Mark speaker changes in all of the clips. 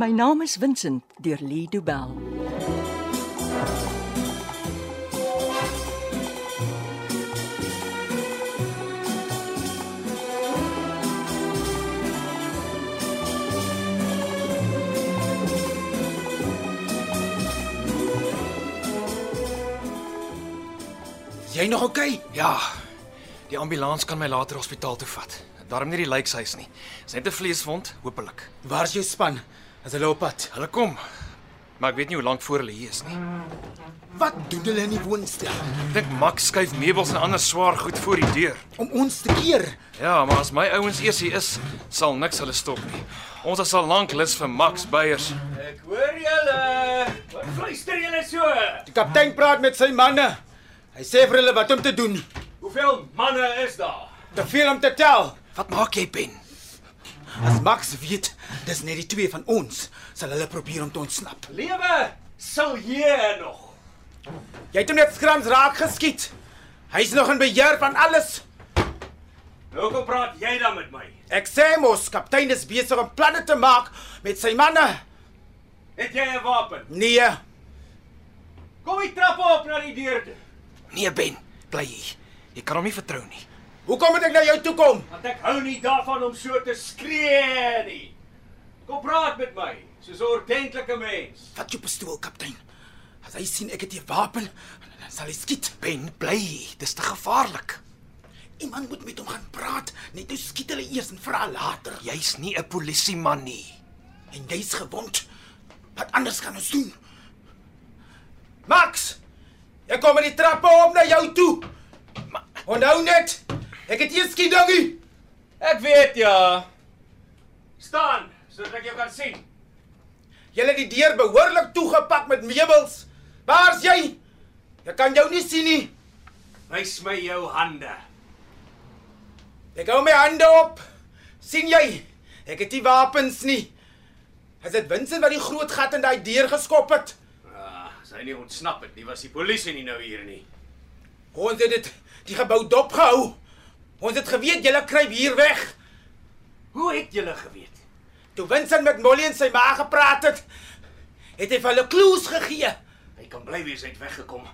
Speaker 1: My naam is Vincent deur Lee Du Bell.
Speaker 2: Jy nog oké? Okay? Ja. Die ambulans kan my later hospitaal toe vat. Daarom nie die lijkhuis nie. Dis net 'n vleeswond, hopelik.
Speaker 3: Waar's jou span? As hulle op pad.
Speaker 2: Hulle kom. Maar ek weet nie hoe lank voor hulle hier is nie.
Speaker 3: Wat doen hulle in die woonstel?
Speaker 2: Ek dink Max skuif meubels en ander swaar goed voor die deur.
Speaker 3: Om ons te keer.
Speaker 2: Ja, maar as my ouens eers hier is, sal niks hulle stop nie. Ons is al lank lus vir Max Beyers.
Speaker 4: Ek hoor julle. Wat fluister julle so?
Speaker 3: Die kaptein praat met sy manne. Hy sê vir hulle wat om te doen.
Speaker 4: Hoeveel manne is daar?
Speaker 3: Te veel om te tel.
Speaker 2: Wat maak jy, Ben?
Speaker 3: As Max weet, dis net die twee van ons, sal hulle probeer om te ontsnap.
Speaker 4: Lewe sal hier nog.
Speaker 3: Jy het hom net skrams raak geskiet. Hy's nog in beheer van alles.
Speaker 4: Nou kom praat jy dan met my.
Speaker 3: Ek sê mos, kaptein is besig om planne te maak met sy manne.
Speaker 4: Het jy 'n wapen?
Speaker 3: Nee,
Speaker 4: Kom die trappe op na die deur toe.
Speaker 2: Nee, Ben, bly hier. Jy kan hom nie vertrou nie.
Speaker 3: hoekom moet ek na jou toe kom?
Speaker 4: Want ek hou nie daarvan om so te skree nie. Kom praat met my, soos 'n ordentlike mens.
Speaker 3: Vat jou pistool, kaptein. As hy sien ek het 'n wapen, dan sal hy skiet.
Speaker 2: Ben, bly hier. Dis te gevaarlik.
Speaker 3: Iemand moet met hom gaan praat, net nou skiet hulle eers en vra later.
Speaker 2: Jy's nie 'n polisieman nie. Ja.
Speaker 3: En jy's gewond. Wat anders kan ons doen? Max, ek kom met die trappe op na jou toe. Ma- Onthou net, ek het eers skiedangie.
Speaker 4: Ek weet ja. Staan sodat ek jou kan sien.
Speaker 3: Jy het die deur behoorlik toegepak met meubels. Waar's jy? Ek kan jou nie sien nie.
Speaker 4: Wys my jou hande.
Speaker 3: Ek hou my hande op. sien jy? Ek het nie wapens nie. As dit Vincent wat die groot gat in daai deur geskop het.
Speaker 4: Ah, sy nie ontsnap het nie, was die polisie nie nou hier nie.
Speaker 3: Ons het dit die gebou dopgehou. Ons het geweet jy kruip hier weg.
Speaker 4: Hoe het julle geweet?
Speaker 3: Toe Vincent met Molly en sy ma gepraat het, het hy vir hulle clues gegee.
Speaker 4: Hy kan bly wees hy het weggekom.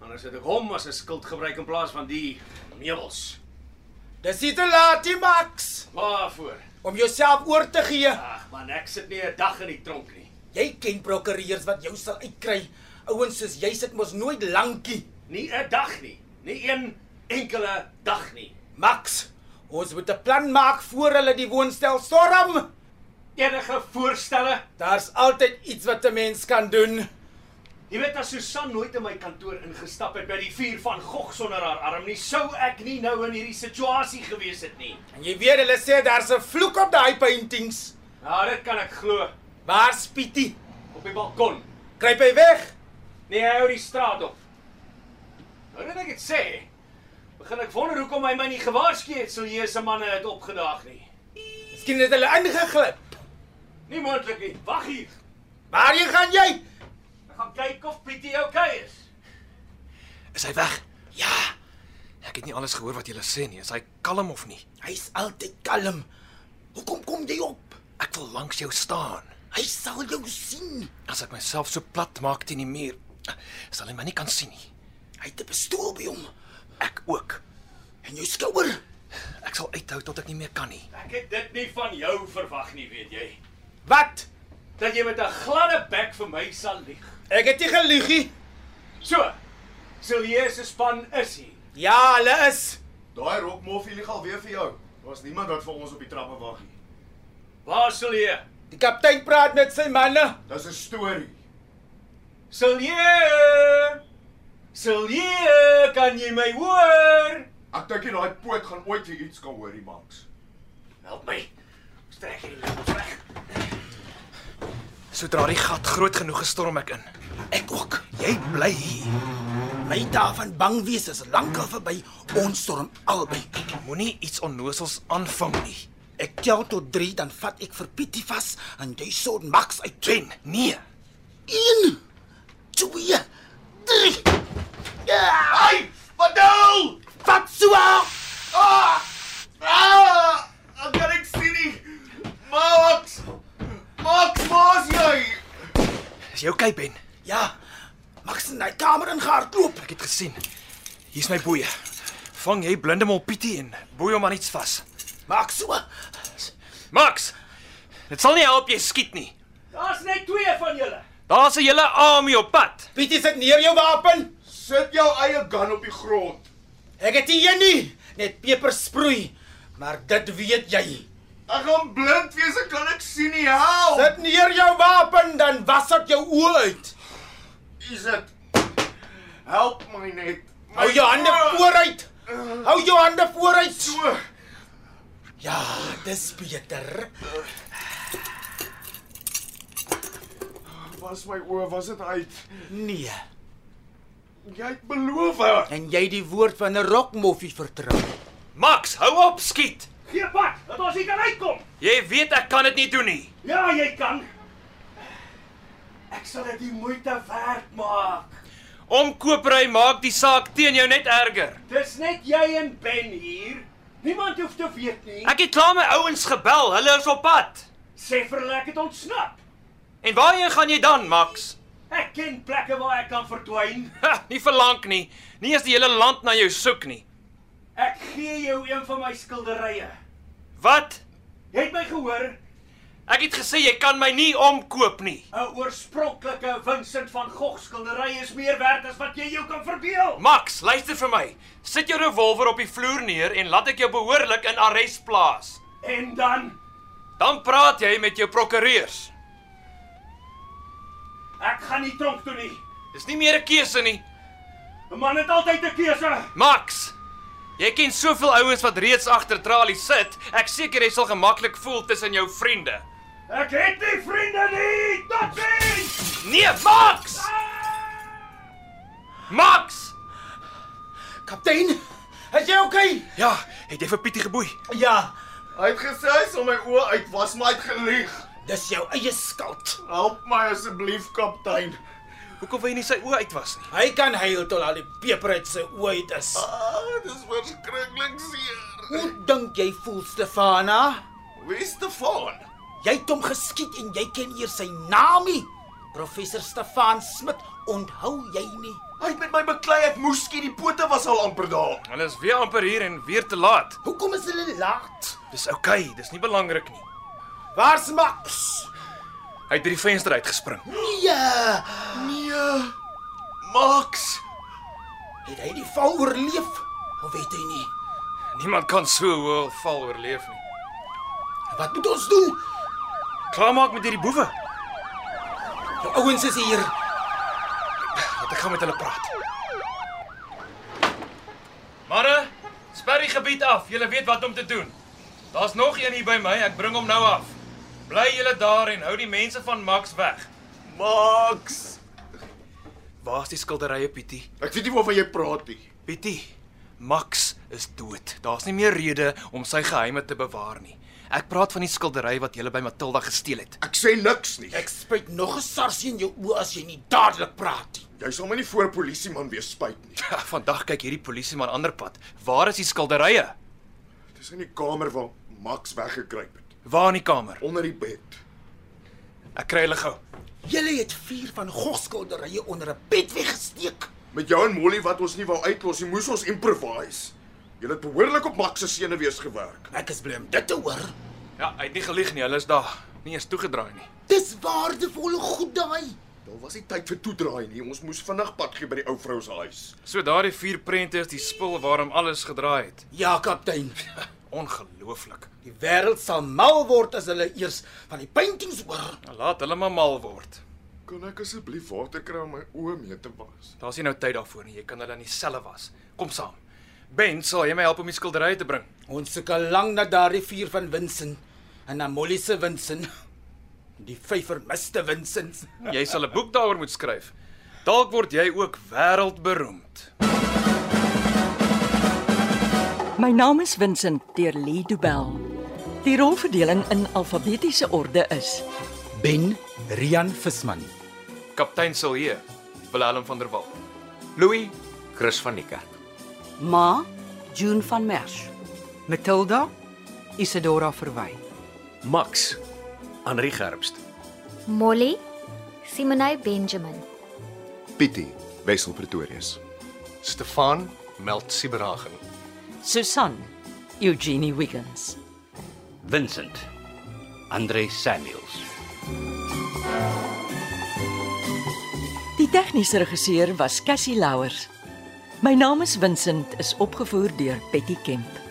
Speaker 4: Anders het ek hom as 'n skild gebruik in plaas van die meubels.
Speaker 3: Dis nie te laat nie, Max,
Speaker 4: Waarvoor?
Speaker 3: om jouself oor te gee.
Speaker 4: Ag man, ek sit nie 'n dag in die tronk nie.
Speaker 3: Jy ken prokureurs wat jou sal uitkry. Ouens soos jy sit mos nooit lankie.
Speaker 4: Nie 'n dag nie. Nie een enkele dag nie.
Speaker 3: Max, ons moet 'n plan maak voor hulle die woonstel storm.
Speaker 4: Enige voorstelle?
Speaker 3: Daar's altyd iets wat 'n mens kan doen.
Speaker 4: Jy weet as Susan nooit in my kantoor ingestap het by die vuur van Gog sonder haar arm nie, sou ek nie nou in hierdie situasie gewees het nie.
Speaker 3: En jy weet hulle sê daar's 'n vloek op daai paintings.
Speaker 4: Ja, dit kan ek glo.
Speaker 3: Waar's Pietie?
Speaker 4: Op die balkon.
Speaker 3: Kruip hy weg?
Speaker 4: Nee, hy hou die straat op. Nou dat ek dit sê, begin ek wonder hoekom hy my nie gewaarsku het sou hierdie se manne het opgedaag nie.
Speaker 3: Miskien het hulle ingeglip.
Speaker 4: Nie moontlik nie. Wag hier.
Speaker 3: Waarheen gaan jy?
Speaker 4: Ek gaan kyk of Pietie oukei okay is.
Speaker 2: Is hy weg? Ja. Ek het nie alles gehoor wat jy sê nie. Is hy kalm of nie?
Speaker 3: Hy's altyd kalm. Hoekom kom jy op?
Speaker 2: Ek wil langs jou staan.
Speaker 3: Hy sal jou sien.
Speaker 2: As ek myself so plat maak teen die muur, sal hy my nie kan sien nie.
Speaker 3: Hy het 'n pistool by hom
Speaker 2: Ek ook.
Speaker 3: en jou skouer.
Speaker 2: Ek sal uithou tot ek nie meer kan nie.
Speaker 4: Ek het dit nie van jou verwag nie, weet jy.
Speaker 3: Wat?
Speaker 4: Dat jy met 'n gladde bek vir my sal lieg.
Speaker 3: Ek het nie gelieg nie.
Speaker 4: So. Silje se span is hier.
Speaker 3: Ja, hulle is.
Speaker 5: Daai rokmof illegaal weer vir jou. Daar's niemand wat vir ons op die trappe wag nie.
Speaker 4: Waar is Silje?
Speaker 3: Die kaptein praat met sy manne.
Speaker 5: Dis 'n storie.
Speaker 4: Silje! Silje, kan jy my hoor?
Speaker 5: Ek dink nie daai poot gaan ooit weer iets kan hoor nie, Max.
Speaker 4: Help my. Strek hierdie lês weg.
Speaker 2: Sodra die gat groot genoeg is, storm ek in.
Speaker 3: Ek ook.
Speaker 2: Jy bly hier.
Speaker 3: My dae van bang wees is lankal verby. Ons storm albei.
Speaker 2: Moenie iets onnosels aanvang nie.
Speaker 3: Ek tel tot 3 dan vat ek vir Pietie vas en jy sou Max uit.
Speaker 2: Ben, nee.
Speaker 3: 1 2 3 Ja!
Speaker 5: Ai! Wat nou?
Speaker 3: Vat so aan.
Speaker 5: Ah! Ah! Ek kan ek sien nie. Max! Max, mos jy.
Speaker 2: jou Cape Ben.
Speaker 3: Ja. Mag sy na die kamer ingehardloop.
Speaker 2: Ek het gesien. Hier's my boeie. Vang jy blinde mol Pietie en boei hom aan iets vas.
Speaker 3: Maak so.
Speaker 2: Max. Dit sal nie help jy skiet nie.
Speaker 4: Daar's net twee van julle.
Speaker 2: Daar's 'n hele army op pad.
Speaker 3: Pietie sit neer jou wapen.
Speaker 5: Sit jou eie gun op die grond.
Speaker 3: Ek het hier nie net peper sproei, maar dit weet jy.
Speaker 5: Ek gaan blind wees, ek kan niks sien nie. Help!
Speaker 3: Sit neer jou wapen dan was dit jou oë uit.
Speaker 5: Is dit? Help my net. My
Speaker 3: Hou jou hande
Speaker 5: oog.
Speaker 3: vooruit. Hou jou hande vooruit.
Speaker 5: So.
Speaker 3: Ja, dis beter.
Speaker 5: Was my oë, was dit uit?
Speaker 3: Nee.
Speaker 5: Jy het beloof haar.
Speaker 3: En jy die woord van 'n rokmoffie vertrou.
Speaker 2: Max, hou op skiet.
Speaker 4: Gee pad, dat ons hier kan uitkom.
Speaker 2: Jy weet ek kan dit nie doen nie.
Speaker 4: Ja, jy kan. Ek sal dit die moeite werd maak.
Speaker 2: Omkoopry maak die saak teen jou net erger.
Speaker 4: Dis net jy en Ben hier. Niemand hoef te weet nie.
Speaker 2: Ek het klaar my ouens gebel. Hulle is op pad.
Speaker 4: sê vir hulle ek het ontsnap.
Speaker 2: En waarheen gaan jy dan, Max?
Speaker 4: Ek ken plekke waar ek kan verdwyn.
Speaker 2: Ha, nie verlang nie. Nie as die hele land na jou soek nie.
Speaker 4: Ek gee jou een van my skilderye.
Speaker 2: Wat?
Speaker 4: Jy het my gehoor,
Speaker 2: Ek het gesê jy kan my nie omkoop nie.
Speaker 4: 'n oorspronklike Vincent van Gogh skildery is meer werd as wat jy jou kan verbeel.
Speaker 2: Max, luister vir my. Sit jou revolver op die vloer neer en laat ek jou behoorlik in arrest plaas.
Speaker 4: En dan
Speaker 2: Dan praat jy met jou prokureurs.
Speaker 4: ek gaan nie tronk toe nie.
Speaker 2: Dis nie meer 'n keuse nie.
Speaker 4: 'n Man het altyd 'n keuse.
Speaker 2: Max, jy ken soveel ouens wat reeds agter tralies sit. Ek seker jy sal gemaklik voel tussen jou vriende.
Speaker 4: Ek het nie vriende nie. Tot sins.
Speaker 2: Nee, Max! Max!
Speaker 3: Kaptein, is jy okay?
Speaker 2: Ja, het jy vir Pietie geboei?
Speaker 3: Ja,
Speaker 5: Hy het gesê hy sal my oë uitwas, maar hy het gelieg.
Speaker 3: dis jou eie skuld.
Speaker 5: Help my asseblief, kaptein.
Speaker 2: Hoekom wou jy nie sy oë uitwas nie?
Speaker 3: Hy kan huil tot al die peper uit sy oë uit is.
Speaker 5: Ah, dis verskriklik seer.
Speaker 3: Hoe dink jy voel Stefana?
Speaker 5: Wie is Stefan?
Speaker 3: Jy het hom geskiet en jy ken eers sy naam nie. Professor Stefan Smit, onthou jy nie?
Speaker 5: Hy het met my beklei ek moes skiet, die pote was al amper daar.
Speaker 2: Hulle is weer amper hier en weer te laat.
Speaker 3: Hoekom is hulle laat?
Speaker 2: Dis oukei, okay, dis nie belangrik nie.
Speaker 3: Waar's Max?
Speaker 2: Hy het deur die venster uitgespring.
Speaker 3: Nee,
Speaker 5: Nee. Max,
Speaker 3: het hy die val oorleef? Of weet hy nie?
Speaker 2: Niemand kan so hoog val oorleef nie.
Speaker 3: Wat moet ons doen?
Speaker 2: Klaarmaak met hierdie boewe.
Speaker 3: Die ouens is hier.
Speaker 2: Laat ek gaan met hulle praat. Marre, sper die gebied af. Julle weet wat om te doen. Daar's nog een hier by my. Ek bring hom nou af. Bly julle daar en hou die mense van Max weg.
Speaker 5: Max.
Speaker 2: Waar's die skilderye, Pietie?
Speaker 5: Ek weet nie waarvan jy praat nie.
Speaker 2: Pietie, Max is dood. Daar's nie meer rede om sy geheime te bewaar nie. Ek praat van die skildery wat jy by Matilda gesteel het.
Speaker 5: Ek sê niks nie.
Speaker 3: Ek spyt nog 'n sarsie in jou oë as jy nie dadelik praat nie.
Speaker 5: Jy sal my nie voor polisieman wees spyt nie.
Speaker 2: Ja, vandag kyk hierdie polisieman ander pad. Waar is die skilderye?
Speaker 5: Dis in die kamer waar Max weggekruip het,
Speaker 2: Waar in die kamer?
Speaker 5: onder die bed.
Speaker 2: Ek kry hulle gou.
Speaker 3: Julle het vier van Gogh skilderye onder 'n bed weggesteek.
Speaker 5: Met jou en Molly wat ons nie wou uitlos nie, moes ons improvise. Jy het behoorlik op Max se senuwees gewerk.
Speaker 3: Ek is bly om dit te hoor.
Speaker 2: Ja, hy het nie gelieg nie. Hulle is daar. Nie eens toegedraai nie.
Speaker 3: Dis waardevolle goed daai.
Speaker 5: Daar was nie tyd vir toedraai nie. Ons moes vinnig pad gee by die ou vrou se huis.
Speaker 2: So daardie vier prente is die spul waarom alles gedraai het.
Speaker 3: Ja, kaptein.
Speaker 2: Ongelooflik.
Speaker 3: Die wêreld sal mal word as hulle eers van die paintings hoor.
Speaker 2: Nou Laat hulle maar mal word.
Speaker 5: Kan ek asseblief water kry om my oë mee te was?
Speaker 2: Daar's nie nou tyd daarvoor nie. Jy kan hulle in die selle was. Kom saam. Ben, sal jy my help om die skilderye te bring?
Speaker 3: Ons soek al lank na daardie vier van Winsen en na Molly se Winsen. Die vyf vermiste Winsens.
Speaker 2: Jy sal 'n boek daaroor moet skryf. Dalk word jy ook wêreldberoemd.
Speaker 1: My naam is Vincent deur Lee Du Bell. Die rolverdeling in alfabetiese orde is:
Speaker 3: Ben Rian Visman,
Speaker 2: Kaptein Silje, Willem van der Walt. Louis,
Speaker 6: Chris van die kerk.
Speaker 7: Ma June van Merch. Matilda Isidora Verwy.
Speaker 6: Max, Henri Gerbst,
Speaker 8: Molly,
Speaker 6: Simonay Benjamin.
Speaker 5: Pietie, Wessel Pretorius.
Speaker 2: Stefan Meld Siberagen.
Speaker 1: Susan Eugenie Wiggins.
Speaker 4: Vincent Andre Samuels.
Speaker 1: Die tegniese regisseur was Cassie Louwers. My naam is Vincent is opgevoer deur Betty Kemp.